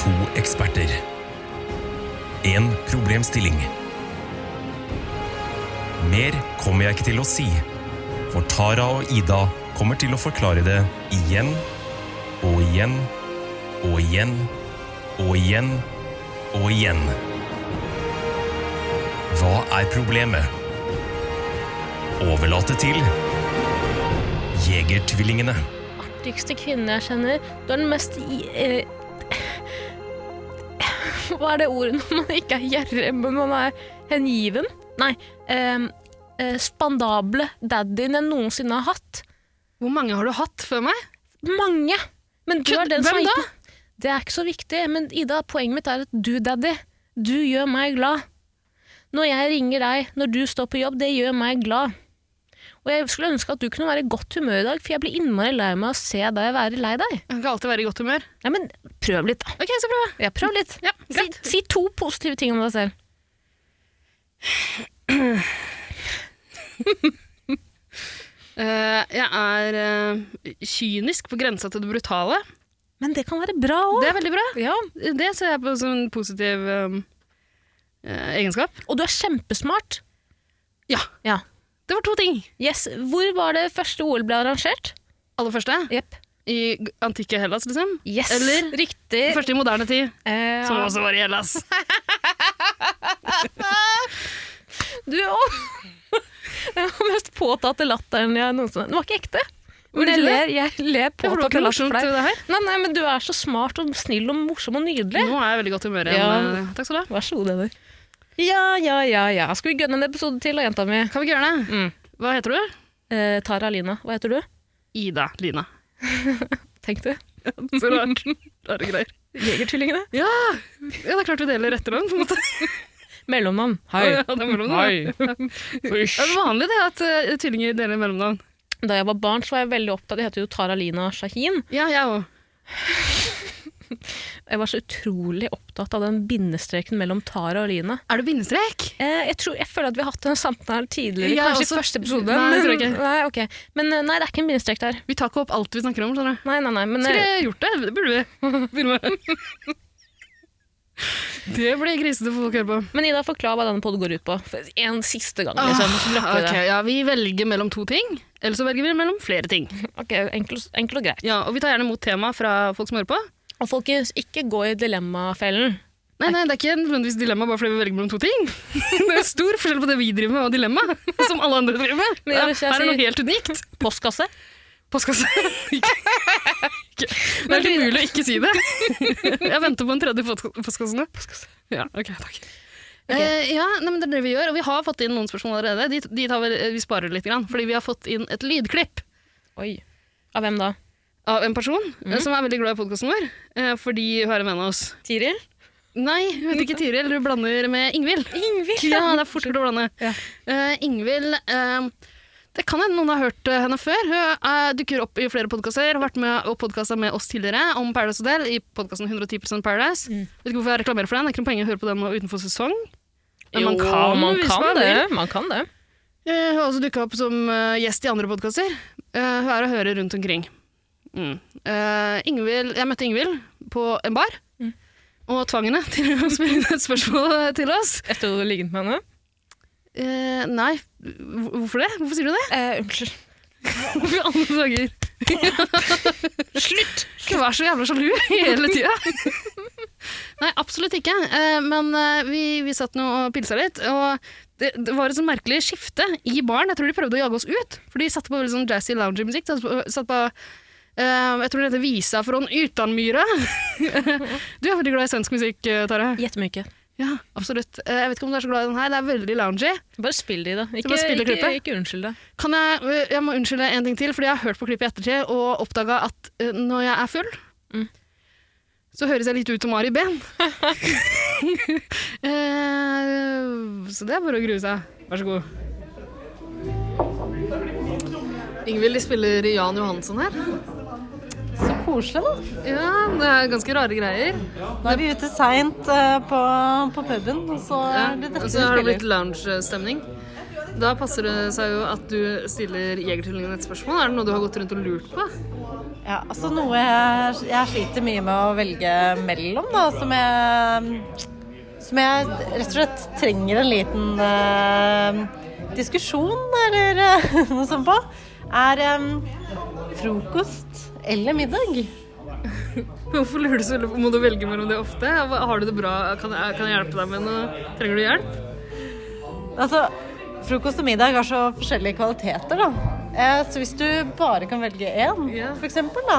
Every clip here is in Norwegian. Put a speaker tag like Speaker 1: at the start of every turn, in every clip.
Speaker 1: To eksperter. En problemstilling. Mer kommer jeg ikke til å si, for Tara og Ida kommer til å forklare det igjen og igjen og igjen og igjen og igjen. Hva er problemet? Overlate til Jegertvillingene.
Speaker 2: artigste kvinnen jeg kjenner. Du er den mest i- eh, Hva er det ordet når man ikke er gjerrig, men man er hengiven? Nei. Eh, eh, spandable daddyen jeg noensinne har hatt.
Speaker 3: Hvor mange har du hatt før meg?
Speaker 2: Mange! Men du
Speaker 3: Kødd-
Speaker 2: er den som
Speaker 3: hvem
Speaker 2: har gitt meg- Det er ikke så viktig, men Ida, poenget mitt er at du, daddy, du gjør meg glad. Når jeg ringer deg, når du står på jobb, det gjør meg glad. Og jeg skulle ønske at du kunne være i godt humør i dag, for jeg blir innmari lei meg av å se deg være lei deg.
Speaker 3: Jeg kan ikke alltid være i godt humør.
Speaker 2: Ja, men prøv litt, da.
Speaker 3: Ok, jeg skal prøve.
Speaker 2: Ja, prøv litt.
Speaker 3: Ja,
Speaker 2: Si,
Speaker 3: greit.
Speaker 2: si to positive ting om deg selv.
Speaker 3: Eh, jeg er eh, kynisk på grensa til det brutale.
Speaker 2: Men det kan være bra òg.
Speaker 3: Det er veldig bra.
Speaker 2: Ja.
Speaker 3: Det ser jeg på som en positiv eh, eh, egenskap.
Speaker 2: Og du er kjempesmart.
Speaker 3: Ja,
Speaker 2: Ja.
Speaker 3: det var to ting.
Speaker 2: Yes. Hvor var det første OL ble arrangert?
Speaker 3: Aller første,
Speaker 2: Jepp.
Speaker 3: i g- antikke Hellas, liksom.
Speaker 2: Yes.
Speaker 3: Eller-
Speaker 2: Riktig.
Speaker 3: Første i moderne tid,
Speaker 2: Eh,
Speaker 3: som også var i Hellas.
Speaker 2: Du òg. Den mest påtatte latteren jeg noensinne Den var ikke ekte.
Speaker 3: Var
Speaker 2: Men
Speaker 3: det
Speaker 2: jeg
Speaker 3: ikke det?
Speaker 2: ler, jeg ler
Speaker 3: Det var
Speaker 2: påtatt
Speaker 3: ikke
Speaker 2: latter for
Speaker 3: morsomt,
Speaker 2: deg.
Speaker 3: det her.
Speaker 2: Nei, nei, men du er så smart og snill og morsom og nydelig.
Speaker 3: Nå er jeg i veldig godt humør igjen.
Speaker 2: Ja.
Speaker 3: eh, Takk skal du ha.
Speaker 2: Vær så god, Eder. Ja, ja, ja, ja. Skal vi gønne en episode til, da, jenta mi?
Speaker 3: Kan vi ikke gjøre det?
Speaker 2: Mm.
Speaker 3: Hva heter du?
Speaker 2: Eh, Tara Lina, hva heter du?
Speaker 3: Ida Lina.
Speaker 2: Tenk du.
Speaker 3: Så rart. Rare greier.
Speaker 2: Jegertvillingene.
Speaker 3: Ja! ja, det er klart vi deler etternavn, på en måte.
Speaker 2: Mellomnavn.
Speaker 3: Ja, det er mellomnavn. Det er vanlig det at eh, tvillinger deler mellomnavn.
Speaker 2: Da jeg var barn, så var jeg veldig opptatt Jeg heter jo Tara Lina Shahin.
Speaker 3: Ja, jeg òg.
Speaker 2: Jeg var så utrolig opptatt av den bindestreken mellom Tara og Lina.
Speaker 3: Er det bindestrek?
Speaker 2: Eh, jeg, tror, jeg føler at vi har hatt en samtale tidligere,
Speaker 3: Jeg
Speaker 2: kanskje
Speaker 3: også.
Speaker 2: i første episode.
Speaker 3: altså, Nei, jeg
Speaker 2: men,
Speaker 3: tror ikke.
Speaker 2: Nei, ok. men eh, nei, det er ikke en bindestrek der.
Speaker 3: Vi tar ikke opp alt vi snakker om. skjønner du?
Speaker 2: Nei, nei, nei. Men,
Speaker 3: Skulle
Speaker 2: eh,
Speaker 3: jeg gjort det? Det burde vi. Begynne med. Det blir grisete for folk å høre på.
Speaker 2: men Ida, forklar hva denne poden går ut på. For En siste gang, liksom. så dropper vi
Speaker 3: Ah, ok, ja, Vi velger mellom to ting, eller så velger vi mellom flere ting.
Speaker 2: det. Ok, enkel, enkel og grei.
Speaker 3: Ja, Og vi tar gjerne imot tema fra folk som hører på.
Speaker 2: Og folkens, ikke gå i dilemmafellen.
Speaker 3: Nei, nei, det er ikke nødvendigvis dilemma bare fordi vi velger mellom to ting. Det er stor forskjell på det vi driver med og dilemma, som alle andre driver med.
Speaker 2: Men jeg
Speaker 3: Ja,
Speaker 2: vil si-
Speaker 3: her er det noe helt unikt.
Speaker 2: Postkasse.
Speaker 3: Postkasse. Ikke- ikke- Det er ikke mulig å ikke si det. Jeg venter på en tredje postka- postkasse nå. Ja, ok, takk. Eh, ja, nei, men det er det vi gjør, og vi har fått inn noen spørsmål allerede. De, de tar vi, eh, vi sparer litt, grann, fordi vi har fått inn et lydklipp
Speaker 2: Oi. Av hvem da?
Speaker 3: av en person eh, som er veldig glad i podkasten vår, eh, fordi hun er en venn av oss.
Speaker 2: Tiril?
Speaker 3: Nei, hun heter ikke Tiril, hun blander med Ingvild.
Speaker 2: Ingvild.
Speaker 3: Ja, det er fort gjort å blande.
Speaker 2: Ja.
Speaker 3: Eh, Ingvild eh, Det kan hende noen har hørt eh, henne før. Hun eh, dukker opp i flere podkaster. Har vært med og podkasta med oss tidligere om Paradise Hotel i podkasten 110 Paradise.
Speaker 2: Mm.
Speaker 3: Vet ikke hvorfor jeg reklamerer for den. Det er ikke noe poeng å høre på den nå utenfor sesong. Men
Speaker 2: Jo,
Speaker 3: man kan,
Speaker 2: man
Speaker 3: hvis
Speaker 2: kan
Speaker 3: man
Speaker 2: det.
Speaker 3: vil.
Speaker 2: Man kan det.
Speaker 3: Eh, Hun har også dukka opp som eh, gjest i andre podkaster. Hun er å høre rundt omkring. Mm. Eh, Ingvild, jeg møtte Ingvild på en bar.
Speaker 2: Mm.
Speaker 3: Og tvang henne til å spille inn et spørsmål til oss.
Speaker 2: Etter at du har ligget med henne?
Speaker 3: Eh, nei, Hvor- hvorfor det? Hvorfor sier du det?
Speaker 2: Eh, unnskyld.
Speaker 3: Hvorfor i alle dager?
Speaker 2: Slutt!
Speaker 3: Ikke vær så jævla sjalu hele tida. Nei, absolutt ikke. Eh, Men eh, vi, vi satt nå og pilsa litt, og det, det var et sånn merkelig skifte i baren. Jeg tror de prøvde å jage oss ut, for de satte på veldig sånn jazzy lounge-musikk. Satt på, satt på eh, jeg tror det heter Visa fra Utanmyra. du er veldig glad i svensk musikk, eh, Tara.
Speaker 2: Gjett mye.
Speaker 3: Ja, absolutt. Eh, Jeg vet ikke om du er så glad i den her. Det er veldig loungy.
Speaker 2: Bare spill det i, da. Ikke,
Speaker 3: bare spill det
Speaker 2: ikke,
Speaker 3: klippet.
Speaker 2: ikke unnskyld deg.
Speaker 3: Kan jeg, øh, jeg må unnskylde en ting til, fordi jeg har hørt på klippet i ettertid og oppdaga at eh, når jeg er full,
Speaker 2: Mm.
Speaker 3: så høres jeg litt ut som Mari Ben. Eh, så det er bare å grue seg. Vær så god. Ingvild, de spiller Jan Johansson her.
Speaker 4: Så koselig, da.
Speaker 3: Ja, det er ganske rare greier.
Speaker 4: Nå er vi ute seint eh, på, på puben, og så er det dette
Speaker 3: og
Speaker 4: vi
Speaker 3: så har det blitt
Speaker 4: spiller.
Speaker 3: lounge-stemning. Da passer det seg jo at du stiller Jegertvillingene et spørsmål. Er det noe du har gått rundt og lurt på?
Speaker 4: Ja, altså noe jeg, jeg sliter mye med å velge mellom, da, som jeg Som jeg rett og slett trenger en liten eh, diskusjon eller eh, noe sånt på, er em, frokost eller middag.
Speaker 3: Hvorfor lurer du så Må du velge mellom det ofte? Har du det bra? Kan jeg, kan jeg hjelpe deg med noe? Trenger du hjelp?
Speaker 4: Altså, frokost og middag har så forskjellige kvaliteter, da. Eh, så hvis du bare kan velge én,
Speaker 3: Ja.
Speaker 4: for eksempel, da.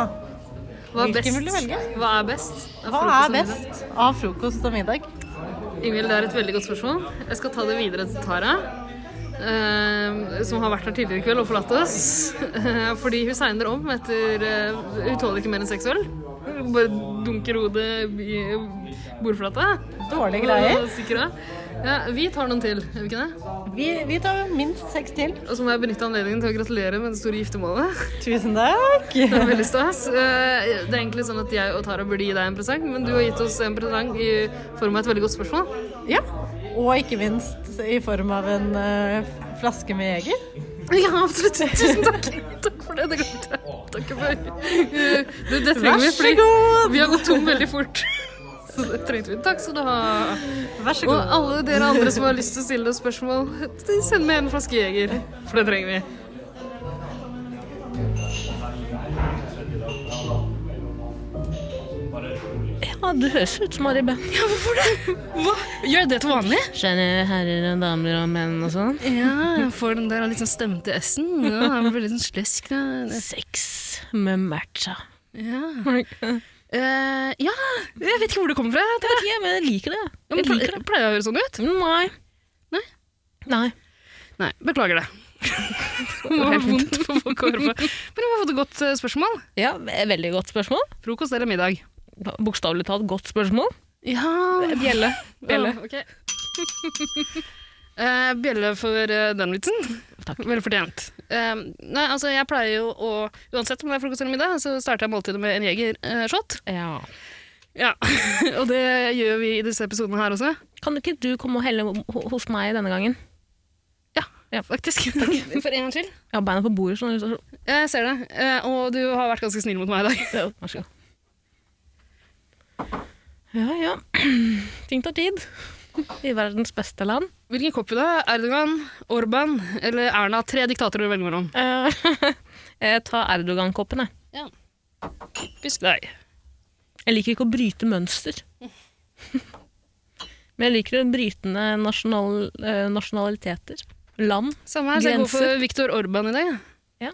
Speaker 3: Hva er
Speaker 4: Hvilken
Speaker 3: best?
Speaker 4: vil du velge?
Speaker 3: Hva er best?
Speaker 4: Hva
Speaker 3: Frokost og
Speaker 4: er
Speaker 3: middag?
Speaker 4: best av frokost og middag?
Speaker 3: Ingvild, det er et veldig godt spørsmål. Jeg skal ta det videre til Tara. eh, som har vært her tidligere i kveld og forlatt oss. Eh, fordi hun segner om etter eh, Hun tåler ikke mer enn seks øl. Hun Bare dunker hodet i bordflata.
Speaker 4: Dårlige greier.
Speaker 3: Og stikker av. Ja, vi tar noen til, gjør vi ikke det?
Speaker 4: Vi, vi tar minst seks til.
Speaker 3: Og så må jeg benytte anledningen til å gratulere med det store giftermålet.
Speaker 4: Tusen takk.
Speaker 3: Det er veldig stas. Eh, Det er egentlig sånn at jeg og Tara burde gi deg en presang, men du har gitt oss en presang i form av et veldig godt spørsmål.
Speaker 4: Ja. Og ikke minst i form av en eh, flaske med Jeger.
Speaker 3: Ja, absolutt. Tusen takk. Takk for det. Det glemte jeg. Takk for det. Du, det trenger vi,
Speaker 4: Vær så
Speaker 3: fordi
Speaker 4: god.
Speaker 3: vi har gått tom veldig fort. Så det trengte vi. Takk skal du ha.
Speaker 4: Vær så
Speaker 3: Og
Speaker 4: god.
Speaker 3: alle dere andre som har lyst til å stille oss spørsmål, send meg en flaske Jeger, for det trenger vi.
Speaker 2: Ja, du høres ut som Ari Behn.
Speaker 3: Hva? Gjør jeg det til vanlig?
Speaker 2: Kjære herrer og damer og menn og sånn.
Speaker 3: Ja, jeg får den der litt sånn stemte S-en. Ja, jeg blir litt sånn slesk. da.
Speaker 2: Sex med matcha.
Speaker 3: Ja. Eh, ja, jeg vet ikke hvor det kommer fra. Tara.
Speaker 2: Ja, men jeg liker det.
Speaker 3: Ja, men
Speaker 2: Jeg liker det.
Speaker 3: ple- Pleier jeg å høre sånn ut?
Speaker 2: Nei.
Speaker 3: Nei?
Speaker 2: Nei.
Speaker 3: Nei, beklager det. det var vondt for folk å høre på. Men vi har fått et godt eh, spørsmål.
Speaker 2: Ja, ve- veldig godt spørsmål.
Speaker 3: Frokost eller middag?
Speaker 2: Bokstavelig talt godt spørsmål.
Speaker 3: Ja
Speaker 2: Bjelle. Bjelle.
Speaker 3: Ah, ok. Eh, bjelle for eh, den vitsen.
Speaker 2: Takk.
Speaker 3: Vel fortjent. Eh, nei, altså, jeg pleier jo å Uansett om det er frokost eller middag, så starter jeg måltidet med en jegershot.
Speaker 2: Ja.
Speaker 3: ja. og det gjør vi i disse episodene her også.
Speaker 2: Kan ikke du komme og helle ho- hos meg denne gangen?
Speaker 3: Ja,
Speaker 2: Ja.
Speaker 3: faktisk. for en gangs skyld.
Speaker 2: Jeg har beina på bordet. Sånn. så-
Speaker 3: Jeg ser det. Eh, og du har vært ganske snill mot meg i dag.
Speaker 2: Ja, Vær så god. Ja, ja. Ting tar tid. I verdens beste land.
Speaker 3: Hvilken kopp vil du ha? Erdogan, Orban eller Erna? Tre diktatorer å velge mellom.
Speaker 2: Eh, jeg tar Erdogan-koppen, jeg.
Speaker 3: Typisk deg.
Speaker 2: Jeg liker ikke å bryte mønster. Men jeg liker å brytende nasjonal, eh, nasjonaliteter. Land.
Speaker 3: Samme her, så jeg går for
Speaker 2: Grenser.
Speaker 3: Viktor Orban i dag. jeg.
Speaker 2: Ja.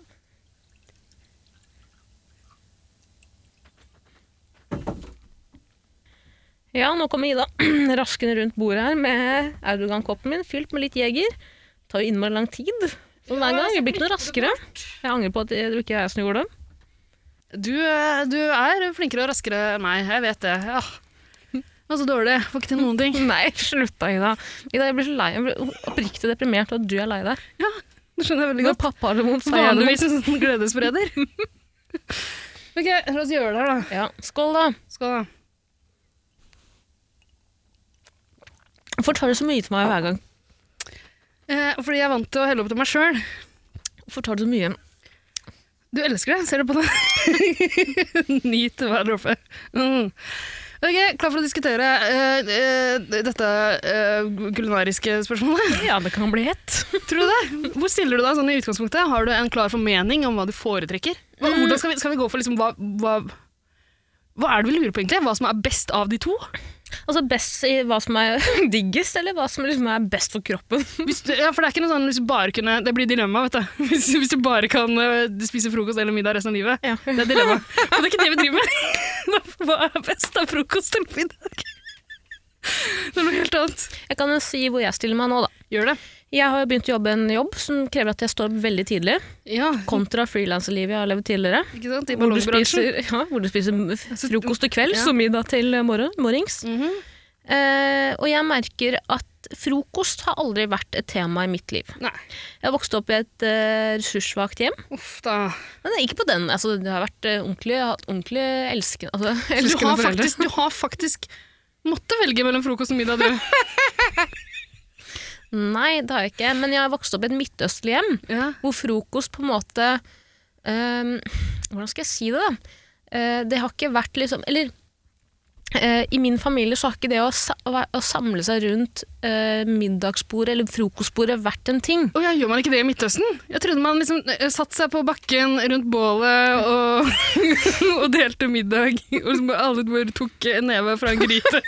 Speaker 2: Ja, nå kommer Ida raskende rundt bordet her med Erdogan-koppen min fylt med litt jeger. Det tar jo innmari lang tid. Og hver gang, Det blir ikke noe raskere. Jeg angrer på at det ikke er jeg som gjorde det.
Speaker 3: Du, eh, du er flinkere og raskere enn meg, jeg vet det. Ja. Det var så dårlig, jeg får ikke til noen ting.
Speaker 2: Nei, slutt da, Ida. Ida, Jeg blir så lei. Jeg blir oppriktig deprimert av at du er lei deg.
Speaker 3: Ja, det skjønner jeg veldig
Speaker 2: Når
Speaker 3: godt.
Speaker 2: pappa har det vondt, så har jeg det vondt.
Speaker 3: Vanligvis en sånn gledesspreder. ok, la oss gjøre det her da.
Speaker 2: Ja, skål, da.
Speaker 3: Skål da.
Speaker 2: Hvorfor tar du så mye til meg hver gang?
Speaker 3: Eh, fordi jeg er vant til å helle opp til meg sjøl.
Speaker 2: Hvorfor tar du så mye?
Speaker 3: Du elsker det, ser du på det? Nyt hver dråpe. Mm. Ok, klar for å diskutere eh, eh, dette eh, kulinariske spørsmålet?
Speaker 2: Ja, det kan bli hett.
Speaker 3: Tror du det? Hvor stiller du deg sånn i utgangspunktet? Har du en klar formening om hva du foretrekker? Hva, hvordan skal vi, skal vi gå for liksom hva, hva hva er det vi lurer på egentlig? Hva som er best av de to?
Speaker 2: Altså best i hva som er diggest, eller hva som liksom er best for kroppen.
Speaker 3: Hvis du, ja, for det er ikke noe sånn hvis du bare kunne Det blir dilemma, vet du. Hvis, hvis du bare kan eh, spise frokost eller middag resten av livet.
Speaker 2: Ja.
Speaker 3: Det er dilemma. Og det er ikke det vi driver med. Hva er best av frokost eller middag? Det er noe helt annet.
Speaker 2: Jeg kan jo si hvor jeg stiller meg nå, da.
Speaker 3: Gjør det.
Speaker 2: Jeg har jo begynt å jobbe en jobb som krever at jeg står opp veldig tidlig,
Speaker 3: Ja,
Speaker 2: kontra frilanserlivet jeg har levd tidligere.
Speaker 3: ikke sant? I
Speaker 2: Hvor du,
Speaker 3: ballongbransjen.
Speaker 2: spiser, ja, hvor du spiser frokost til kvelds
Speaker 3: Ja.
Speaker 2: og middag til eh, morgen, morgens.
Speaker 3: Mhm.
Speaker 2: Eh, og jeg merker at frokost har aldri vært et tema i mitt liv.
Speaker 3: Nei.
Speaker 2: Jeg vokste opp i et eh, ressurssvakt hjem.
Speaker 3: Uff da.
Speaker 2: Men det er ikke på den. Altså, det har vært eh, ordentlig, jeg har hatt ordentlig elskende, altså,
Speaker 3: Du
Speaker 2: elskende
Speaker 3: har,
Speaker 2: foreldre.
Speaker 3: faktisk, du har faktisk måtte velge mellom frokost og middag, du.
Speaker 2: Nei, det har jeg ikke. Men jeg har vokst opp i et midtøstlig hjem.
Speaker 3: Ja.
Speaker 2: hvor frokost på en måte øhm, ehm, Hvordan skal jeg si det, da? Eh, Det har ikke vært liksom Eller eh, i min familie så har ikke det å, sa væ- å samle seg rundt eh, middagsbordet eller frokostbordet vært en ting.
Speaker 3: Å ja, gjør man ikke det i Midtøsten? Jeg trodde man liksom eh, satt seg på bakken rundt bålet og, og delte middag, og liksom alle bare tok en neve fra en gryte.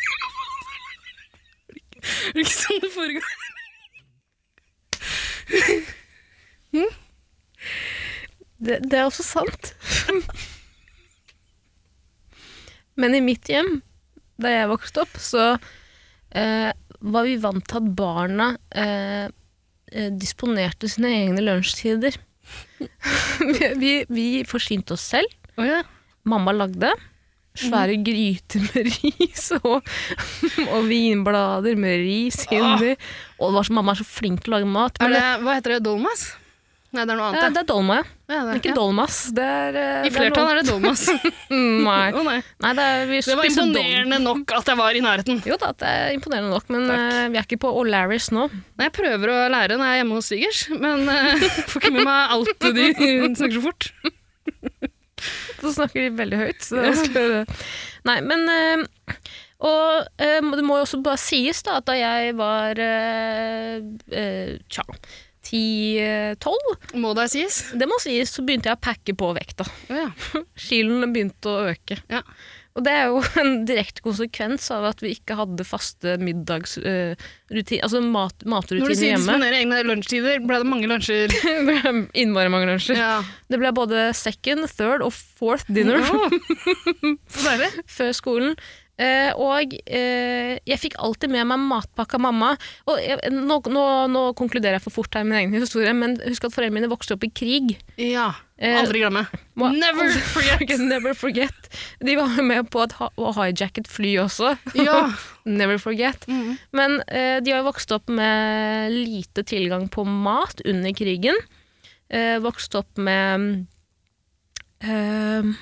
Speaker 3: Er det ikke sånn det foregår?
Speaker 2: Det, det er også sant. Men i mitt hjem, da jeg vokste opp, så eh, var vi vant til at barna eh, eh, disponerte sine egne lunsjtider. vi, vi, vi forsynte oss selv.
Speaker 3: Å ja.
Speaker 2: Mamma lagde svære
Speaker 3: Mhm.
Speaker 2: gryter med ris og, og vinblader med ris inni. Og det var så, mamma er så flink til å lage mat.
Speaker 3: Ah. Er
Speaker 2: Men
Speaker 3: det, hva heter det? Dolmas? Nei, det er noe
Speaker 2: ja,
Speaker 3: annet.
Speaker 2: det er dolma, ja.
Speaker 3: Ja, det
Speaker 2: Det er
Speaker 3: er-
Speaker 2: ikke dolmas. Det er, eh,
Speaker 3: ja. I flertall er det dolmas.
Speaker 2: det er noe- Mm, Nei.
Speaker 3: Å nei.
Speaker 2: Nei, det, er, vi
Speaker 3: Det var
Speaker 2: spiser dom-
Speaker 3: imponerende nok at jeg var i nærheten.
Speaker 2: Jo da, det er imponerende nok, men eh, vi er ikke på O'Larris nå.
Speaker 3: Nei, Jeg prøver å lære når jeg er hjemme hos svigers, men eh, får ikke med meg alt de snakker så fort.
Speaker 2: Så snakker de veldig høyt. Så det er vanskelig å høre. Nei, men eh, Og eh, det må jo også bare sies da, at da jeg var eh, eh, tja, 10-12,
Speaker 3: Må det sies?
Speaker 2: det må sies, så begynte jeg å pakke på vekta.
Speaker 3: Å ja.
Speaker 2: Kiloene begynte å øke.
Speaker 3: Ja.
Speaker 2: Og det er jo en direkte konsekvens av at vi ikke hadde faste middagsrutiner, altså mat,
Speaker 3: Når du
Speaker 2: matrutiner
Speaker 3: sier
Speaker 2: hjemme.
Speaker 3: disponere egne lunsjtider, ble det mange lunsjer?
Speaker 2: Innmari mange lunsjer.
Speaker 3: Ja.
Speaker 2: Det ble både second, third og fourth dinner
Speaker 3: Så deilig.
Speaker 2: før skolen. Eh, og eh, jeg fikk alltid med meg matpakke av mamma. Og jeg, nå, nå, nå konkluderer jeg for fort her med min egen historie, men husk at foreldrene mine vokste opp i krig.
Speaker 3: Ja.
Speaker 2: Eh,
Speaker 3: Aldri glemme.
Speaker 2: må-
Speaker 3: Never forget.
Speaker 2: Never forget. De var jo med på et ha- å hijacke et fly også.
Speaker 3: Ja.
Speaker 2: Never forget.
Speaker 3: Mm.
Speaker 2: Men eh, de har jo vokst opp med lite tilgang på mat under krigen. Eh, vokst opp med eh,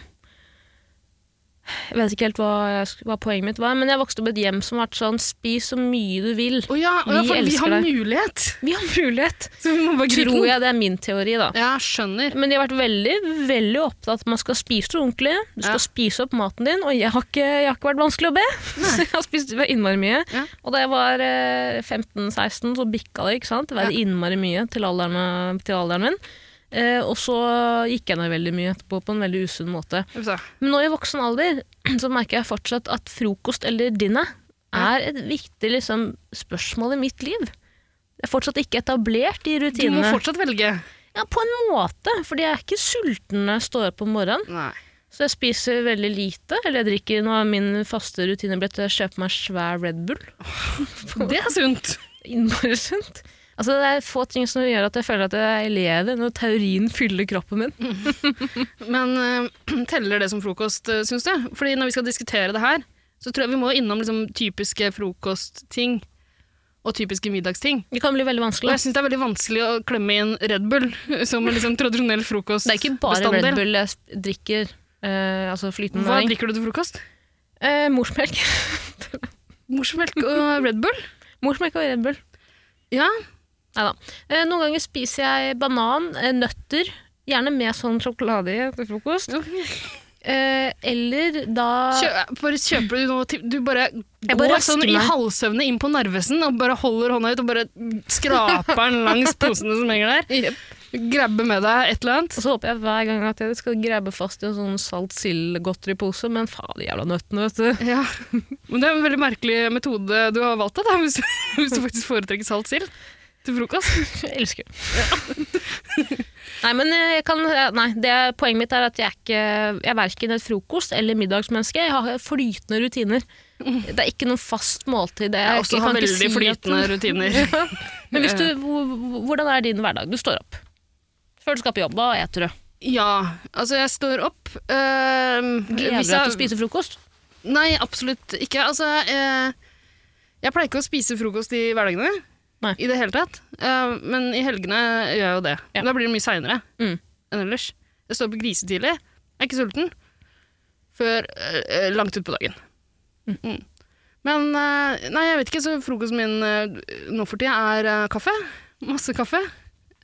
Speaker 2: Jeg vet ikke helt hva, jeg, sk- hva poenget mitt var, men jeg vokste opp i et hjem som har vært sånn spis så mye du vil.
Speaker 3: Å ja, å ja,
Speaker 2: Vi
Speaker 3: for vi
Speaker 2: elsker
Speaker 3: har
Speaker 2: deg.
Speaker 3: mulighet.
Speaker 2: Vi har mulighet!
Speaker 3: Så vi må bare gripe
Speaker 2: Tror
Speaker 3: den.
Speaker 2: jeg det er min teori, da.
Speaker 3: Ja, skjønner.
Speaker 2: Men de har vært veldig veldig opptatt av at man skal spise det ordentlig. Du skal
Speaker 3: Ja.
Speaker 2: spise opp maten din, og jeg har ikke, jeg har ikke vært vanskelig å be. Så jeg har spist innmari mye.
Speaker 3: Ja.
Speaker 2: Og da jeg var eh, 15-16, så bikka det. ikke sant? Det var innmari mye til alderen, til alderen min. Eh, og så gikk jeg ned veldig mye etterpå på en veldig usunn måte.
Speaker 3: Altså,
Speaker 2: Men nå i voksen alder så merker jeg fortsatt at frokost eller dinner er et viktig liksom, spørsmål i mitt liv. Det er fortsatt ikke etablert de
Speaker 3: Du må
Speaker 2: rutinene.
Speaker 3: fortsatt velge.
Speaker 2: Ja, på en måte, fordi jeg er ikke sulten når jeg står opp om morgenen.
Speaker 3: Nei.
Speaker 2: Så jeg spiser veldig lite, eller jeg drikker nå har min faste rutine blitt å kjøpe meg svær Red Bull.
Speaker 3: Det er sunt.
Speaker 2: Innmari sunt. Altså, det er få ting som gjør at jeg føler at jeg lever, når teorien fyller kroppen min.
Speaker 3: Men eh, teller det som frokost, uh, syns du? Fordi når vi skal diskutere det her, så tror jeg vi må innom liksom, typiske frokostting og typiske middagsting.
Speaker 2: Det kan bli veldig
Speaker 3: Og
Speaker 2: vanskelig.
Speaker 3: jeg syns det er veldig vanskelig å klemme inn Red Bull som en liksom,
Speaker 2: Det er
Speaker 3: tradisjonell
Speaker 2: ikke bare
Speaker 3: frokostbestanddel.
Speaker 2: Red Bull jeg sp- drikker, eh, altså flytende
Speaker 3: Hva
Speaker 2: næring.
Speaker 3: drikker du til frokost?
Speaker 2: Eh, morsmelk.
Speaker 3: Morsmelk og Red Bull?
Speaker 2: morsmelk og Red Bull.
Speaker 3: Ja.
Speaker 2: Neida. Eh, noen ganger spiser jeg banan, eh, nøtter, gjerne med sånn sjokolade i til frokost. Eh, eller da
Speaker 3: Kjø, bare kjøper du noe til Du bare går
Speaker 2: bare rasker
Speaker 3: sånn i
Speaker 2: meg.
Speaker 3: halvsøvne inn på Narvesen og bare holder hånda ut og bare skraper den langs posene som henger der.
Speaker 2: Jep.
Speaker 3: Grabber med deg et eller annet.
Speaker 2: Og så håper jeg hver gang at jeg skal grabbe fast i en sånn salt sildgodteripose, men faen, de jævla nøttene, vet du.
Speaker 3: Ja, men det er en veldig merkelig metode du har valgt, da, hvis, du- hvis du faktisk foretrekker salt sild til frokost.
Speaker 2: Jeg elsker det. nei, men eh, jeg kan eh, Nei, det, er- poenget mitt er at jeg er ikke Jeg er verken et frokost- eller middagsmenneske. Jeg har flytende rutiner. Det er ikke noen fast måltid. Jeg,
Speaker 3: Jeg også
Speaker 2: kan
Speaker 3: har
Speaker 2: ikke
Speaker 3: veldig
Speaker 2: si at-
Speaker 3: flytende eh. rutiner.
Speaker 2: Ja. Men hvis du, hvor- hvordan er din hverdag? Du står opp. Før du skal på jobb, hva eter du?
Speaker 3: Ja, altså jeg står opp øhm,
Speaker 2: Gleder du deg
Speaker 3: hvis
Speaker 2: til å
Speaker 3: jeg-
Speaker 2: spise frokost?
Speaker 3: Nei, absolutt ikke. Altså, eh, jeg pleier ikke å spise frokost i hverdagene.
Speaker 2: Nei.
Speaker 3: I det hele tatt. Eh, men i helgene gjør jeg jo det.
Speaker 2: Ja.
Speaker 3: Da blir det mye seinere
Speaker 2: Mm.
Speaker 3: enn ellers. Jeg står opp grisetidlig, er ikke sulten, før eh, langt utpå dagen. Mm. Men eh, nei, jeg vet ikke, så frokosten min eh, nå for tida er eh, kaffe. Masse kaffe.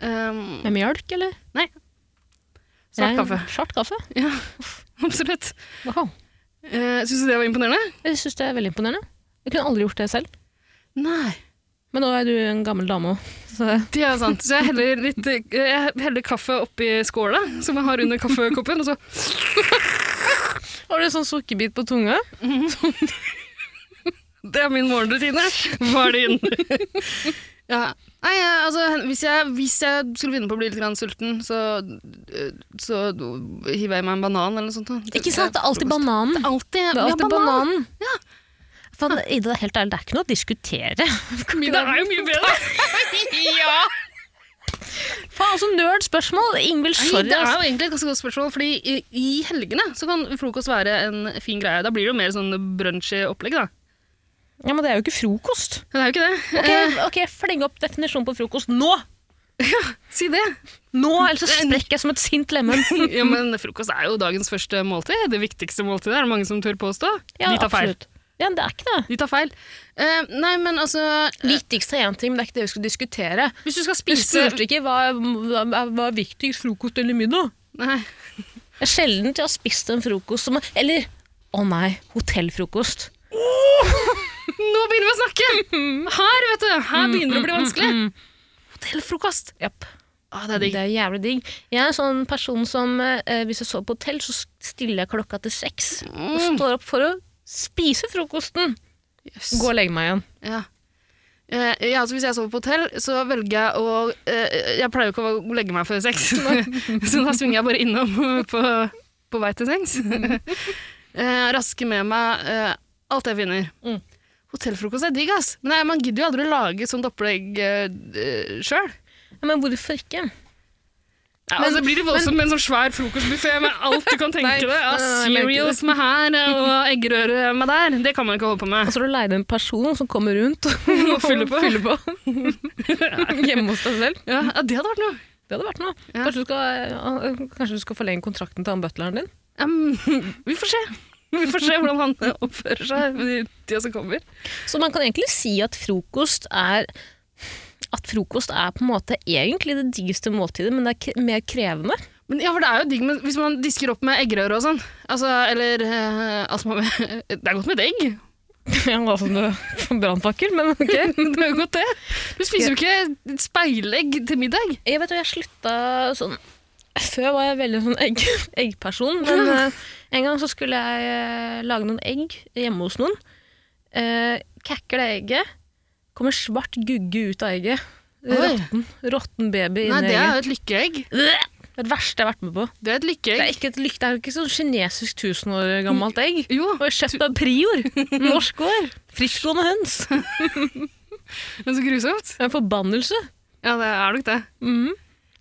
Speaker 3: Um,
Speaker 2: Med mjølk, eller?
Speaker 3: Svart
Speaker 2: Jeg-
Speaker 3: kaffe.
Speaker 2: Svart kaffe.
Speaker 3: Ja, absolutt.
Speaker 2: Wow.
Speaker 3: Uh, Syns du det var imponerende?
Speaker 2: Jeg syns det er veldig imponerende. Jeg kunne aldri gjort det selv.
Speaker 3: Nei.
Speaker 2: Men nå er du en gammel dame òg, så
Speaker 3: Det er sant. Så jeg heller, litt, eh, jeg heller kaffe oppi skåla, som jeg har under kaffekoppen, og så
Speaker 2: Har du sånn sukkerbit på tunga?
Speaker 3: Det er min morgenrutine. Hva er din? ja. Nei, jeg, altså, hvis jeg, hvis jeg skulle begynne på å bli litt grann sulten, så, øh, så hiver jeg i meg en banan eller noe sånt. da.
Speaker 2: Ikke sant? Det er alltid
Speaker 3: Jeg-
Speaker 2: bananen.
Speaker 3: Alltid,
Speaker 2: Det er alltid
Speaker 3: ja, banan.
Speaker 2: bananen. Faen, Ida, det er helt ærlig, det er ikke noe å diskutere.
Speaker 3: Middag er jo mye bedre. ja.
Speaker 2: Faen, så nerd spørsmål! Ingvild,
Speaker 3: Nei,
Speaker 2: sorry.
Speaker 3: det er
Speaker 2: altså.
Speaker 3: jo egentlig et ganske godt spørsmål, fordi i, i helgene så kan frokost være en fin greie. Da blir det jo mer sånn brunchy opplegg, da.
Speaker 2: Ja, men det er jo ikke frokost.
Speaker 3: Men det er jo ikke det.
Speaker 2: Ok,
Speaker 3: Eh,
Speaker 2: ok, Fleng opp definisjonen på frokost nå!
Speaker 3: si det.
Speaker 2: Nå, Ellers så sprekker jeg som et sint lemen.
Speaker 3: Ja, men frokost er jo dagens første måltid. Det viktigste måltidet, er det mange som tør påstå.
Speaker 2: Ja,
Speaker 3: De tar feil.
Speaker 2: absolutt. Ja, men det er ikke det.
Speaker 3: De tar feil. Eh, nei, men altså eh,
Speaker 2: Viktigst er én ting, men det er ikke det vi skal diskutere.
Speaker 3: Hvis du skal
Speaker 2: Du
Speaker 3: spise
Speaker 2: spurte ikke hva, hva, hva er viktigst, frokost eller middag?
Speaker 3: Nei,
Speaker 2: Det er sjelden jeg har spist en frokost som Eller å nei, hotellfrokost.
Speaker 3: nå begynner vi å snakke! Her, vet du! Her begynner det å bli vanskelig.
Speaker 2: Mm,
Speaker 3: Hotellfrokost.
Speaker 2: Japp.
Speaker 3: Ah, det er digg.
Speaker 2: Det er jævlig digg. Jeg er en sånn person som eh, hvis jeg sover på hotell, så stiller jeg klokka til seks. Og
Speaker 3: Mm.
Speaker 2: står opp for å spise frokosten.
Speaker 3: Yes.
Speaker 2: Gå og legge meg igjen.
Speaker 3: Ja. Eh, ja, altså Hvis jeg sover på hotell, så velger jeg å eh, Jeg pleier jo ikke å legge meg før seks, så da svinger jeg bare innom på, på vei til sengs. Eh, rasker med meg eh, alt jeg finner.
Speaker 2: Mm.
Speaker 3: Hotellfrokost er digg, ass. Men nei, man gidder jo aldri å lage sånt opplegg uh, sjøl.
Speaker 2: Ja, men hvorfor ikke?
Speaker 3: Ja,
Speaker 2: Men-
Speaker 3: altså, blir det voldsomt med en sånn svær frokostbuffé med alt du kan tenke
Speaker 2: Nei,
Speaker 3: deg. Ja,
Speaker 2: nei, nei, nei, jeg
Speaker 3: cereals med her eh, og eggerøre med der. Det kan man ikke holde på med.
Speaker 2: Og så har du leid Altså, en person som kommer rundt og,
Speaker 3: Og fyller på.
Speaker 2: fyller på. Hjemme hos deg selv.
Speaker 3: Ja, ja, det hadde vært noe.
Speaker 2: Det hadde vært noe.
Speaker 3: Ja.
Speaker 2: Kanskje, du skal, eh, kanskje du skal forlenge kontrakten til han butleren din?
Speaker 3: Em, vi får se. Vi får se hvordan han oppfører seg i tida som kommer.
Speaker 2: Så man kan egentlig si at frokost er at frokost er på en måte egentlig det diggeste måltidet, men det er k mer krevende.
Speaker 3: Men ja, for det er jo digg med, hvis man disker opp med eggerøre og sånn. Altså, eller eh, altså, man, Det er godt med et egg.
Speaker 2: Ja, altså, du brannfakkel, men ok.
Speaker 3: Det er jo godt, det. Du spiser jo ikke speilegg til middag.
Speaker 2: Jeg vet jo, jeg slutta sånn Før var jeg veldig sånn egg, eggperson, men eh, en gang så skulle jeg eh, lage noen egg hjemme hos noen. Uh, Kakker det egget, kommer svart gugge ut av egget.
Speaker 3: Oi.
Speaker 2: Råtten, råtten baby
Speaker 3: Nei,
Speaker 2: inni
Speaker 3: det er
Speaker 2: egget.
Speaker 3: jo et lykkeegg.
Speaker 2: Det er det verste jeg har vært med på.
Speaker 3: Det er et
Speaker 2: Det
Speaker 3: lykkeegg.
Speaker 2: er ikke et lykt, det er jo ikke sånn kinesisk tusen år gammelt egg.
Speaker 3: Jo,
Speaker 2: Og kjøpt av Prior. Norsk år. Friskgående høns. Det
Speaker 3: men så grusomt.
Speaker 2: er en forbannelse.
Speaker 3: Ja, det er nok det.
Speaker 2: Mhm.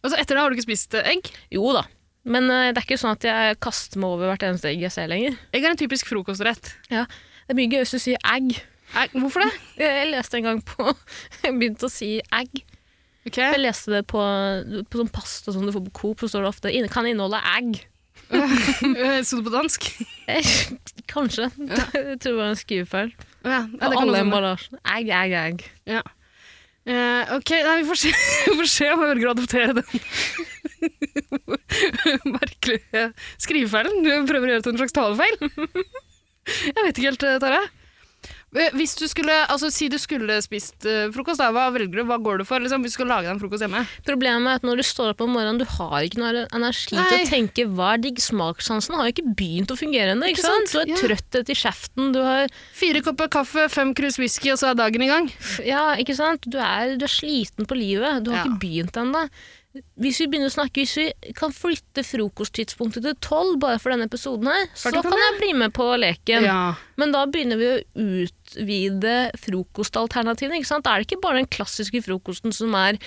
Speaker 3: Og så etter det har du ikke spist eh, egg.
Speaker 2: Jo da. Men eh, det er ikke sånn at jeg kaster meg over hvert eneste egg jeg ser lenger.
Speaker 3: Egg er en typisk frokostrett.
Speaker 2: Det er mye gøyest å si egg.
Speaker 3: Nei, hvorfor det?
Speaker 2: Jeg jeg leste en gang på Jeg begynte å si egg.
Speaker 3: Ok,
Speaker 2: Jeg leste det på, på sånn pasta som du får på Coop, så står det ofte "Inne- kan inneholde egg.
Speaker 3: eh, Sto det på dansk?
Speaker 2: Eh, Kanskje. Jeg tror det var en skrivefeil.
Speaker 3: Å Ja, ja,
Speaker 2: På
Speaker 3: det kan
Speaker 2: alle
Speaker 3: også-
Speaker 2: emballasjene. Egg, egg, egg.
Speaker 3: Ja. Eh, ok, nei, vi får se, vi får se om jeg velger å adoptere den merkelige skrivefeilen. Du prøver å gjøre det til en slags talefeil. Jeg vet ikke helt, eh, Tara. Eh, Hvis du skulle, altså Si du skulle spist eh, frokost, da, hva velger du? Hva går du for? Liksom, hvis du skal lage deg en frokost hjemme?
Speaker 2: Problemet er at når du står opp om morgenen, du har ikke noe energi til
Speaker 3: Nei.
Speaker 2: å tenke hva er digg. Smakssansen har jo ikke begynt å fungere ennå.
Speaker 3: Ikke
Speaker 2: Ikke sant? Du
Speaker 3: sant?
Speaker 2: har
Speaker 3: Ja.
Speaker 2: trøtthet i kjeften, du har
Speaker 3: Fire kopper kaffe, fem krus whisky, og så er dagen i gang?
Speaker 2: Ja, ikke sant? Du er, du er sliten på livet. Du har
Speaker 3: Ja.
Speaker 2: ikke begynt ennå. Hvis vi begynner å snakke, hvis vi kan flytte frokosttidspunktet til tolv bare for denne episoden her, så
Speaker 3: Klart du
Speaker 2: kan
Speaker 3: kan
Speaker 2: jeg bli med på leken.
Speaker 3: Ja.
Speaker 2: Men da begynner vi å utvide frokostalternativene. ikke sant? Da er det ikke bare den klassiske frokosten som er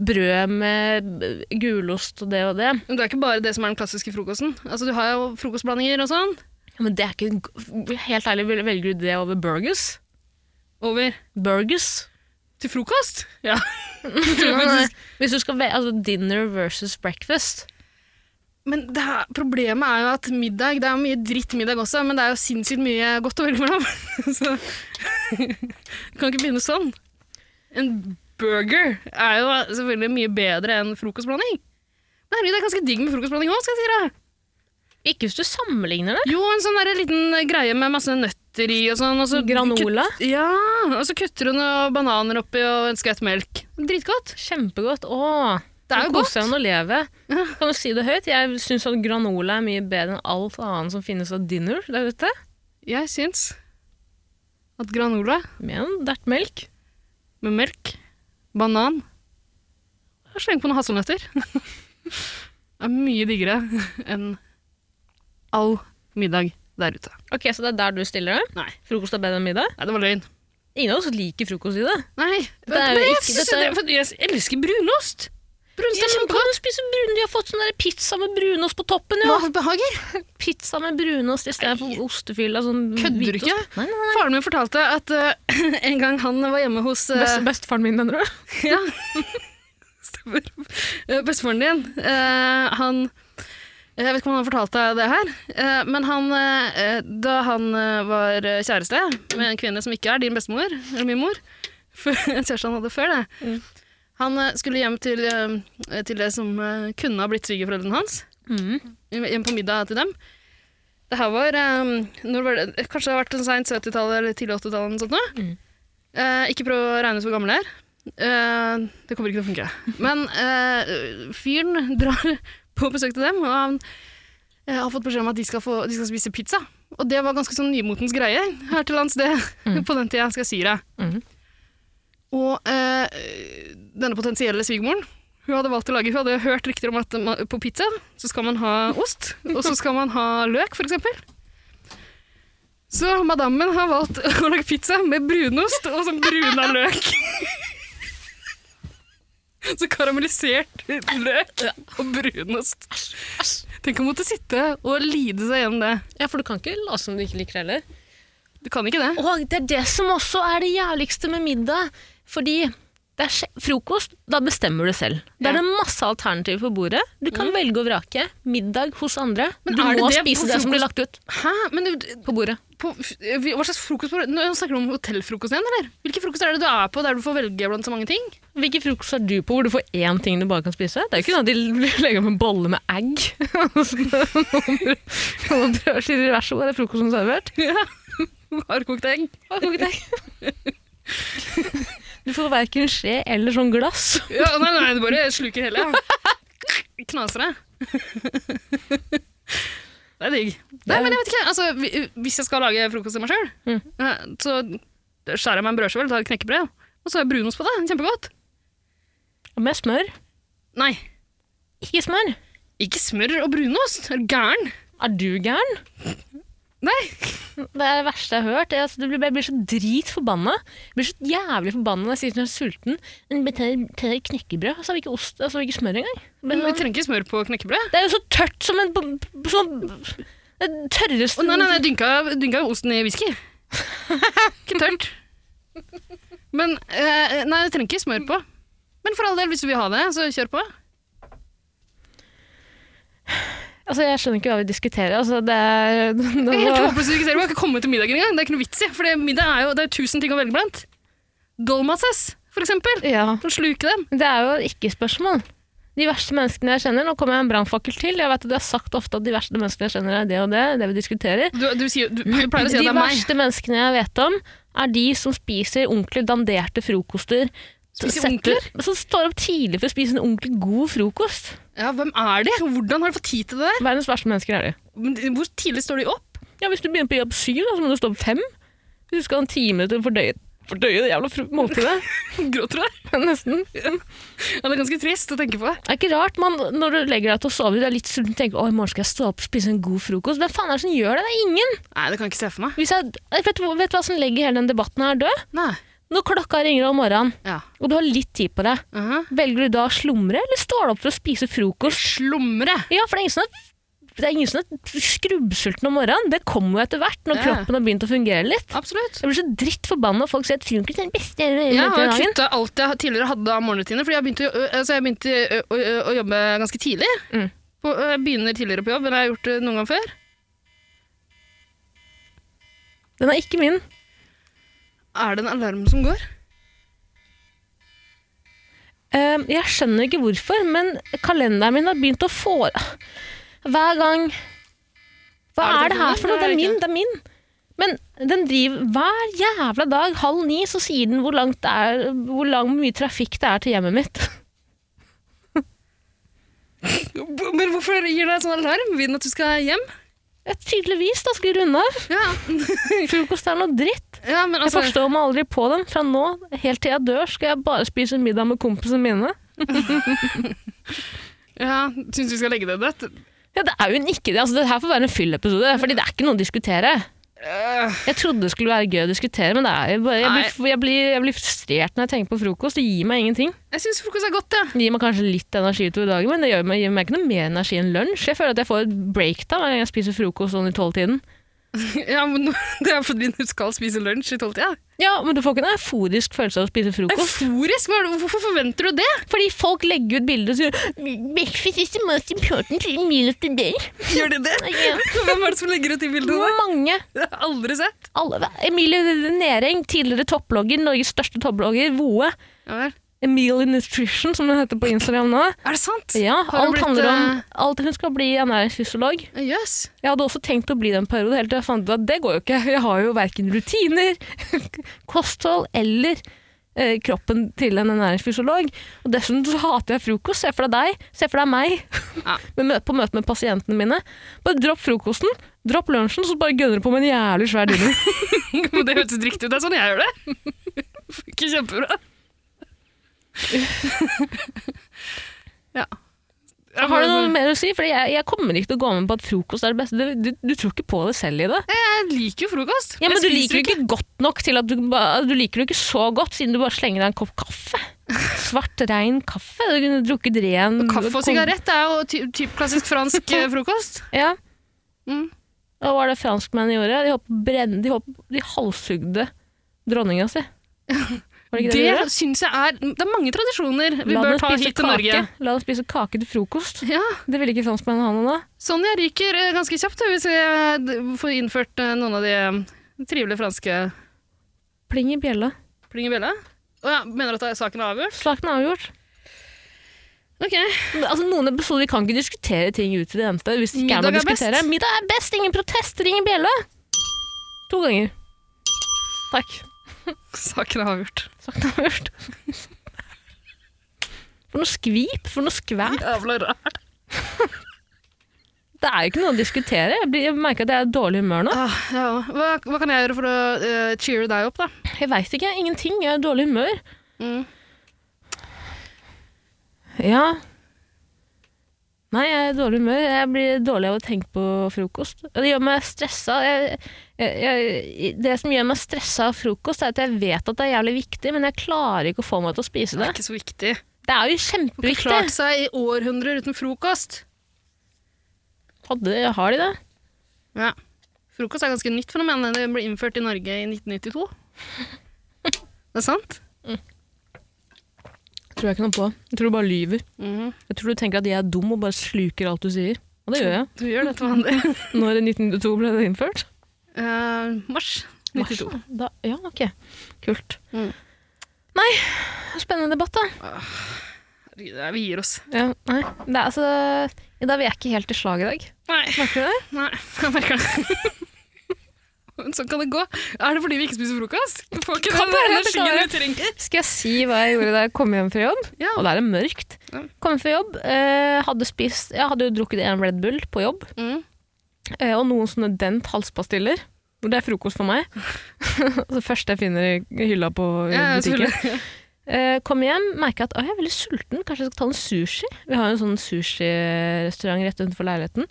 Speaker 2: brød med gulost og det og det.
Speaker 3: Men det er ikke bare det som er den klassiske frokosten. Altså, Du har jo frokostblandinger og sånn.
Speaker 2: Ja, Men det er ikke Helt ærlig, vel- velger du det over burgers?
Speaker 3: Over
Speaker 2: Burgers?
Speaker 3: til frokost. Ja.
Speaker 2: Hvis du skal ve altså dinner versus breakfast.
Speaker 3: Men det er, problemet er jo at middag, det er jo mye drittmiddag også, men det er jo sinnssykt mye godt å velge mellom. Så du kan ikke begynne sånn. En burger er jo selvfølgelig mye bedre enn frokostblanding. Men Herregud, det er ganske digg med frokostblanding òg, skal jeg si deg.
Speaker 2: Ikke hvis du sammenligner det.
Speaker 3: Jo, en sånn der liten greie med masse nøtter i og sånn. Og så
Speaker 2: Granola.
Speaker 3: Kutt, ja, og så kutter hun noen bananer oppi og en skvett melk. Dritgodt.
Speaker 2: Kjempegodt. Å,
Speaker 3: Det
Speaker 2: nå
Speaker 3: er jo
Speaker 2: koser
Speaker 3: godt.
Speaker 2: jeg meg å leve.
Speaker 3: Ja.
Speaker 2: Kan du si det høyt? Jeg syns at granola er mye bedre enn alt annet som finnes av dinner der ute.
Speaker 3: Jeg syns at granola
Speaker 2: Med en dert melk.
Speaker 3: med melk, banan og sleng på noen hasselnøtter er mye diggere enn all middag der ute.
Speaker 2: Ok, Så det er der du stiller det?
Speaker 3: Nei.
Speaker 2: Frokost er bedre enn middag?
Speaker 3: Nei, det var løgn.
Speaker 2: Ingen av oss liker frokost i det.
Speaker 3: Nei.
Speaker 2: Det er jo
Speaker 3: Men jeg,
Speaker 2: ikke-
Speaker 3: synes
Speaker 2: dette er-
Speaker 3: det- for jeg elsker brunost! Brunost
Speaker 2: Ja,
Speaker 3: er
Speaker 2: men
Speaker 3: kjempegodt.
Speaker 2: kan du spise brun? De har fått sånn der pizza med brunost på toppen, jo!
Speaker 3: Hva behager?
Speaker 2: Pizza med brunost i stedet for ostefylla. Sånn
Speaker 3: Kødder du
Speaker 2: hvitost.
Speaker 3: ikke?
Speaker 2: Nei, nei, nei.
Speaker 3: Faren min fortalte at eh, en gang han var hjemme hos eh,
Speaker 2: Best, bestefaren min, mener du?
Speaker 3: ja. Stemmer. Eh, Bestefaren din, eh, han Jeg vet ikke om han fortalte deg det her, eh, men han eh, Da han eh, var kjæreste med en kvinne som ikke er din bestemor, eller min mor for- Kjæresten han hadde før det. Han eh, skulle hjem til, eh, til det som eh, kunne ha blitt svigerforeldrene hans.
Speaker 2: Mm.
Speaker 3: Hjem på middag til dem. Det her var, eh, når var det, Kanskje det har vært en seint 70-tallet eller tidlig 80-tall. eller noe sånt nå. Eh, ikke prøv å regne ut hvor gammel jeg er. Eh, det kommer ikke til å funke. Men eh, fyren drar på besøk til dem, og han eh, har fått beskjed om at de skal, få, de skal spise pizza. Og det var ganske sånn nymotens greie her til lands, det, på den tida, skal jeg si deg.
Speaker 2: Mhm.
Speaker 3: Og eh, denne potensielle svigermoren, hun hadde valgt å lage, hun hadde hørt rykter om at ma- på pizza så skal man ha ost, og så skal man ha løk, for eksempel. Så madammen har valgt å lage pizza med brunost og sånn bruna løk. Så karamellisert løk og brunost. Tenk å måtte sitte og lide seg gjennom det.
Speaker 2: Ja, for du kan ikke late som du ikke liker det heller.
Speaker 3: Du kan ikke det.
Speaker 2: Og det er det som også er det jævligste med middag. Fordi det er sj- frokost, da bestemmer du selv. Da er
Speaker 3: Ja.
Speaker 2: det masse alternativer på bordet. Du kan velge og vrake. Middag hos andre.
Speaker 3: Men
Speaker 2: du
Speaker 3: er det
Speaker 2: må
Speaker 3: det på
Speaker 2: spise Mm. det som blir lagt ut
Speaker 3: Hæ? Men du,
Speaker 2: på bordet.
Speaker 3: på, hva slags frokost på, Nå snakker du om hotellfrokost igjen, eller? Hvilke frokoster er det du er på der du får velge blant så mange ting?
Speaker 2: Hvilken frokost er du på hvor du får én ting du bare kan spise? Det er jo ikke sånn at de legger opp en bolle med egg. Noen brødskiver, vær så god, det er frokosten servert.
Speaker 3: Hardkokt egg.
Speaker 2: Du får verken skje eller sånn glass.
Speaker 3: Ja, nei, nei, du bare sluker hele. Knaser deg. Det er Mm. digg. Nei, men jeg vet ikke, altså, hvi- Hvis jeg skal lage frokost til meg sjøl, så skjærer jeg meg en brødskive, tar et knekkebrød, og så har jeg brunost på det. Kjempegodt.
Speaker 2: Og med smør.
Speaker 3: Nei,
Speaker 2: Ikke smør.
Speaker 3: ikke smør og brunost. Er du gæren?
Speaker 2: Er du gæren?
Speaker 3: Nei.
Speaker 2: Det er det verste jeg har hørt. Jeg, altså, du blir, jeg blir så dritforbanna. Jeg blir så jævlig forbanna når jeg sier at jeg er sulten. Men jeg tar- tar knekkebrød, og så har vi ikke ost, og så har vi ikke smør engang. Men
Speaker 3: Vi
Speaker 2: sånn-
Speaker 3: trenger ikke smør på knekkebrød.
Speaker 2: Det er jo så tørt som en b- b- sånn det tørreste
Speaker 3: Å, nei, nei, nei, dynka, dynka jo osten i whisky. Ikke tørt. Men eh, Nei, du trenger ikke smør på. Men for all del, hvis du vil ha det, så kjør på.
Speaker 2: Altså, jeg skjønner ikke hva vi diskuterer. Altså, det er
Speaker 3: Det er helt
Speaker 2: nå,
Speaker 3: håpløst å diskutere. Vi har ikke kommet til middagen engang. Det er ikke noe vits i. For det, middag er jo det er tusen ting å velge blant. Dolmases, for eksempel.
Speaker 2: ja.
Speaker 3: Kan sluke dem.
Speaker 2: Det er jo ikke spørsmål. De verste menneskene jeg kjenner Nå kommer jeg en brannfakkel til. Jeg vet at De har sagt ofte at de verste menneskene jeg kjenner, er det og det. Det vi diskuterer.
Speaker 3: Du, du, sier, du Mm, pleier å si at
Speaker 2: de
Speaker 3: det er meg.
Speaker 2: verste menneskene jeg vet om, er de som spiser ordentlig danderte frokoster.
Speaker 3: Spiser
Speaker 2: Setter-
Speaker 3: onkler?
Speaker 2: Som står opp tidlig for å spise en ordentlig god frokost.
Speaker 3: Ja, hvem er de? Hvordan har de fått tid til det der?
Speaker 2: Verdens verste mennesker er de.
Speaker 3: Men Hvor tidlig står de opp?
Speaker 2: Ja, Hvis du begynner på jobb syv, da, så må du stå opp fem. Hvis du skal ha en time til å fordøye, fordøye det jævla fru- måltidet.
Speaker 3: Gråter du?
Speaker 2: Nesten.
Speaker 3: Ja, det er ganske trist å tenke på.
Speaker 2: Det er ikke rart man, når du legger deg til å sove, du er litt sulten og tenker «Å, i morgen skal jeg stå opp og spise en god frokost. Hvem faen er det som gjør det? Det er ingen!
Speaker 3: Nei, det kan jeg ikke se for meg.
Speaker 2: Hvis jeg, jeg vet, du hva- vet du hva som legger hele den debatten her død?
Speaker 3: Nei.
Speaker 2: Når klokka ringer om morgenen,
Speaker 3: Ja. Uh-huh.
Speaker 2: og du har litt tid på deg,
Speaker 3: Aha.
Speaker 2: velger du da å slumre, eller står du opp for å spise frokost?
Speaker 3: Slumre.
Speaker 2: Ja, for det er ingen som er, det er, ingen som er skrubbsulten om morgenen. Det kommer jo etter hvert, når
Speaker 3: Ja.
Speaker 2: kroppen har begynt å fungere litt.
Speaker 3: Absolutt.
Speaker 2: Jeg blir så drittforbanna når folk sier at filmklipp er den beste jeg har gjort i
Speaker 3: Jeg
Speaker 2: løpet av
Speaker 3: har
Speaker 2: dagen.
Speaker 3: kutta alt jeg tidligere hadde av morgenrutiner, fordi jeg begynte, å- altså jeg begynte å, å, å jobbe ganske tidlig.
Speaker 2: Mm.
Speaker 3: På, jeg begynner tidligere på jobb enn jeg har gjort det noen gang før.
Speaker 2: Den er ikke min.
Speaker 3: Er det en alarm som går?
Speaker 2: Eh, Jeg skjønner ikke hvorfor, men kalenderen min har begynt å få Hver gang Hva
Speaker 3: Er det
Speaker 2: er det her for noe? Det er
Speaker 3: ikke
Speaker 2: min,
Speaker 3: det?
Speaker 2: det er min. Men den driver hver jævla dag halv ni, så sier den hvor langt det er, hvor lang, hvor mye trafikk det er til hjemmet mitt.
Speaker 3: Men hvorfor gir deg sånn alarm? Vil den at du skal hjem?
Speaker 2: Ja, Tydeligvis, da. Skulle runde av.
Speaker 3: Ja,
Speaker 2: Frokost er noe dritt.
Speaker 3: ja men
Speaker 2: Jeg
Speaker 3: altså
Speaker 2: forstår meg aldri på den. Fra nå helt til jeg dør, skal jeg bare spise middag med kompisene mine.
Speaker 3: ja, Syns du skal legge det dødt?
Speaker 2: Ja, Det er jo en ikke-idé. Altså, det her får være en fyllepisode, fordi det er ikke noe å diskutere.
Speaker 3: Øh,
Speaker 2: Jeg trodde det skulle være gøy å diskutere, men det er jo bare, jeg,
Speaker 3: Nei.
Speaker 2: blir, jeg, blir, jeg blir frustrert når jeg tenker på frokost. Det gir meg ingenting.
Speaker 3: jeg syns frokost er godt, jeg.
Speaker 2: Det gir meg kanskje litt energi utover dagen, men det gjør meg, gir meg ikke noe mer energi enn lunsj. Jeg føler at jeg får et break da når jeg spiser frokost sånn i tolvtiden.
Speaker 3: Ja. men nå- det er fordi du skal spise lunsj i tolvtida.
Speaker 2: Ja, men du får ikke en euforisk følelse av å spise frokost.
Speaker 3: Euforisk? Hva er det- Hvorfor forventer du det?
Speaker 2: Fordi folk legger ut bilder og sier Breakfast is the most important meal of the day.
Speaker 3: Gjør de det?
Speaker 2: Ja.
Speaker 3: Hvem er det som legger ut de bildene?
Speaker 2: Mange.
Speaker 3: Det har jeg aldri sett.
Speaker 2: Alle. Emilie Næring, tidligere topplogger, Norges største topplogger, Voe.
Speaker 3: Ja, vel.
Speaker 2: Emilie Nutrition, som hun heter på Instagram nå.
Speaker 3: er det sant?
Speaker 2: Ja,
Speaker 3: Har hun
Speaker 2: alt
Speaker 3: blitt,
Speaker 2: handler om
Speaker 3: eh,
Speaker 2: alt Hun skal bli ernæringsfysiolog.
Speaker 3: Jøs.
Speaker 2: Jeg hadde også tenkt å bli det en periode, helt til jeg fant ut at det går jo ikke. Jeg har jo verken rutiner, kosthold eller eh, kroppen til en ernæringsfysiolog. Og dessuten så hater jeg frokost. Se for deg deg, se for deg meg
Speaker 3: Ja.
Speaker 2: Med mø- på møte med pasientene mine. Bare dropp frokosten, dropp lunsjen, så bare gønner du på med en jævlig svær dino.
Speaker 3: Men det høres ut riktig ut. Det er sånn jeg gjør det. Ikke kjempebra. ja. sånn. Jeg
Speaker 2: Har du noe mer å si? Fordi jeg, jeg kommer ikke til å gå med på at frokost er det beste. Du, du, du tror ikke på det selv i det.
Speaker 3: Jeg liker jo frokost.
Speaker 2: Ja, men
Speaker 3: Jeg
Speaker 2: du
Speaker 3: spiser
Speaker 2: liker det ikke godt nok til at du, ba- du liker det ikke så godt, siden du bare slenger deg en kopp kaffe. Svart, rein kaffe. Du kunne drukket ren
Speaker 3: Kaffe og
Speaker 2: kon-
Speaker 3: sigarett er jo ty typ klassisk fransk eh, frokost.
Speaker 2: Ja.
Speaker 3: Mm.
Speaker 2: Og hva var det franskmennene gjorde? De, hopp, brenn, de, hopp, de halshugde dronninga si. Var det ikke det, de
Speaker 3: Det
Speaker 2: gjorde?
Speaker 3: syns jeg er Det er mange tradisjoner vi
Speaker 2: La
Speaker 3: bør
Speaker 2: dem
Speaker 3: ta
Speaker 2: spise
Speaker 3: hit til
Speaker 2: kake.
Speaker 3: Norge.
Speaker 2: La dem spise kake til frokost.
Speaker 3: Ja,
Speaker 2: Det ville ikke franskmennene ha noe av.
Speaker 3: Sånn jeg ryker eh, ganske kjapt da, hvis jeg eh, d- får innført eh, noen av de eh, trivelige franske
Speaker 2: Pling i bjella.
Speaker 3: pling i bjella. Å ja, mener du at da- saken er avgjort?
Speaker 2: Saken er avgjort.
Speaker 3: Ok.
Speaker 2: Men, Altså, noen episoder vi kan ikke diskutere ting ut til det endte. Hvis det ikke er noe å
Speaker 3: Middag er best.
Speaker 2: diskutere. Middag er best! Ingen protest! Ring en bjelle! To ganger. Takk.
Speaker 3: Saken er avgjort.
Speaker 2: Sagt og hørt. For noe skvip, for noe skvær.
Speaker 3: Jævla rar.
Speaker 2: Det er jo ikke noe å diskutere. Jeg, blir, jeg merker at jeg er i dårlig humør nå.
Speaker 3: Ah, ja. hva, hva kan jeg gjøre for å eh, cheere deg opp, da?
Speaker 2: Jeg veit ikke. Ingenting. Jeg er i dårlig humør.
Speaker 3: Mm.
Speaker 2: Ja. Nei, jeg er i dårlig humør. Jeg blir dårlig av å tenke på frokost. Og Det gjør meg stressa. Jeg, jeg, jeg, det som gjør meg stressa av frokost, er at jeg vet at det er jævlig viktig, men jeg klarer ikke å få meg til å spise
Speaker 3: Det
Speaker 2: det.
Speaker 3: er ikke så viktig.
Speaker 2: Det er jo
Speaker 3: Du har
Speaker 2: kjempeviktig.
Speaker 3: klart seg i århundrer uten frokost.
Speaker 2: Hadde, har de det?
Speaker 3: Ja. Frokost er ganske nytt fenomen. Det ble innført i Norge i 1992. Det er sant?
Speaker 2: Tror jeg ikke noe på. Jeg tror du bare lyver.
Speaker 3: Mhm.
Speaker 2: Jeg tror du tenker at jeg er dum og bare sluker alt du sier. Og det gjør jeg.
Speaker 3: Du gjør det til vanlig.
Speaker 2: Når i 1902 ble det innført?
Speaker 3: Eh, mars 92.
Speaker 2: Mars, Da, ja, ok. Kult.
Speaker 3: Mm.
Speaker 2: Nei, spennende debatt, da.
Speaker 3: Herregud, det er- vi gir oss.
Speaker 2: Ja, nei. Det er, altså, I dag vil jeg ikke helt i slag i dag.
Speaker 3: Nei,
Speaker 2: Merker du det?
Speaker 3: nei, jeg merker det. Men sånn kan det gå. Er det fordi vi ikke spiser frokost? Du får ikke
Speaker 2: Kan
Speaker 3: den
Speaker 2: være, det kan
Speaker 3: energien du trenger.
Speaker 2: Skal jeg si hva jeg gjorde da jeg kom hjem fra jobb?
Speaker 3: Ja.
Speaker 2: Og da er det mørkt.
Speaker 3: Ja.
Speaker 2: Kom hjem fra jobb, eh, hadde spist Jeg hadde jo drukket en Red Bull på jobb,
Speaker 3: Mm.
Speaker 2: eh, og noen sånne Dent halspastiller. Og Det er frokost for meg. det første jeg finner i hylla på i
Speaker 3: Ja,
Speaker 2: butikken.
Speaker 3: selvfølgelig.
Speaker 2: Eh, kom hjem, merker at «Å, jeg er veldig sulten. Kanskje jeg skal ta en sushi? Vi har jo en sånn sushirestaurant rett utenfor leiligheten.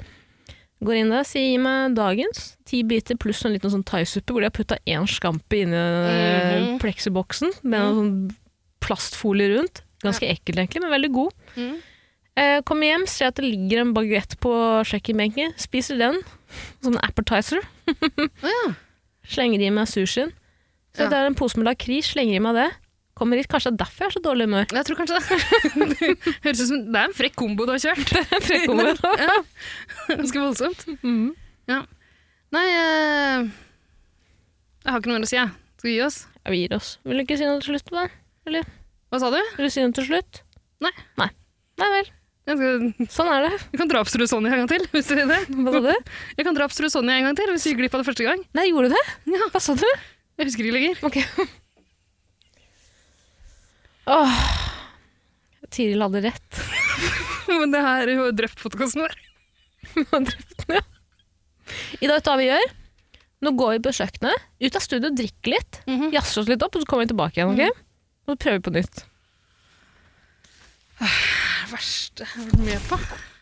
Speaker 2: Går inn der, sier gi meg dagens. Ti biter pluss en liten sånn thaisuppe hvor de har putta én scampi inni mm
Speaker 3: Mhm.
Speaker 2: pleksiboksen med noe sånn plastfolie rundt. Ganske ekkelt egentlig, men veldig god.
Speaker 3: Mhm.
Speaker 2: Eh, kommer hjem, ser at det ligger en baguett på kjøkkenbenken. Spiser den som en appetizer.
Speaker 3: Å ja.
Speaker 2: Slenger i meg sushien. Så
Speaker 3: Ja.
Speaker 2: det er en pose med lakris, slenger i meg det. Kommer hit, Kanskje det er derfor jeg er så dårlig humør.
Speaker 3: Jeg tror kanskje det. Høres ut som det er en frekk kombo du har kjørt.
Speaker 2: Frekkhodet.
Speaker 3: Ja. Ganske voldsomt.
Speaker 2: Mhm.
Speaker 3: Ja. Nei, eh, jeg har ikke noe mer å si, jeg. Skal vi gi oss?
Speaker 2: Ja, Vi gir oss. Vil du ikke si noe til slutt? Hva,
Speaker 3: Hva sa du?
Speaker 2: Vil du si noe til slutt?
Speaker 3: Nei.
Speaker 2: Nei. Nei vel.
Speaker 3: Jeg, skal,
Speaker 2: Sånn er det.
Speaker 3: jeg kan drapstrue Sonja en gang til, hvis du vil det.
Speaker 2: Hva sa du?
Speaker 3: Jeg kan drapstrue Sonja en gang til, hvis du gikk glipp av det første gang.
Speaker 2: Nei, gjorde du det?
Speaker 3: Ja.
Speaker 2: Hva sa du?
Speaker 3: Jeg husker ikke lenger.
Speaker 2: Ok. Åh. Tiril hadde rett.
Speaker 3: Men det her er jo drept podkasten vår.
Speaker 2: Ida, vet du hva vi gjør? Nå går vi på kjøkkenet, ut av studio, drikker litt,
Speaker 3: Mhm. Mm.
Speaker 2: jazzer oss litt opp, og så kommer vi tilbake igjen. ok? Og så prøver vi på nytt.
Speaker 3: Det verste jeg har vært med på.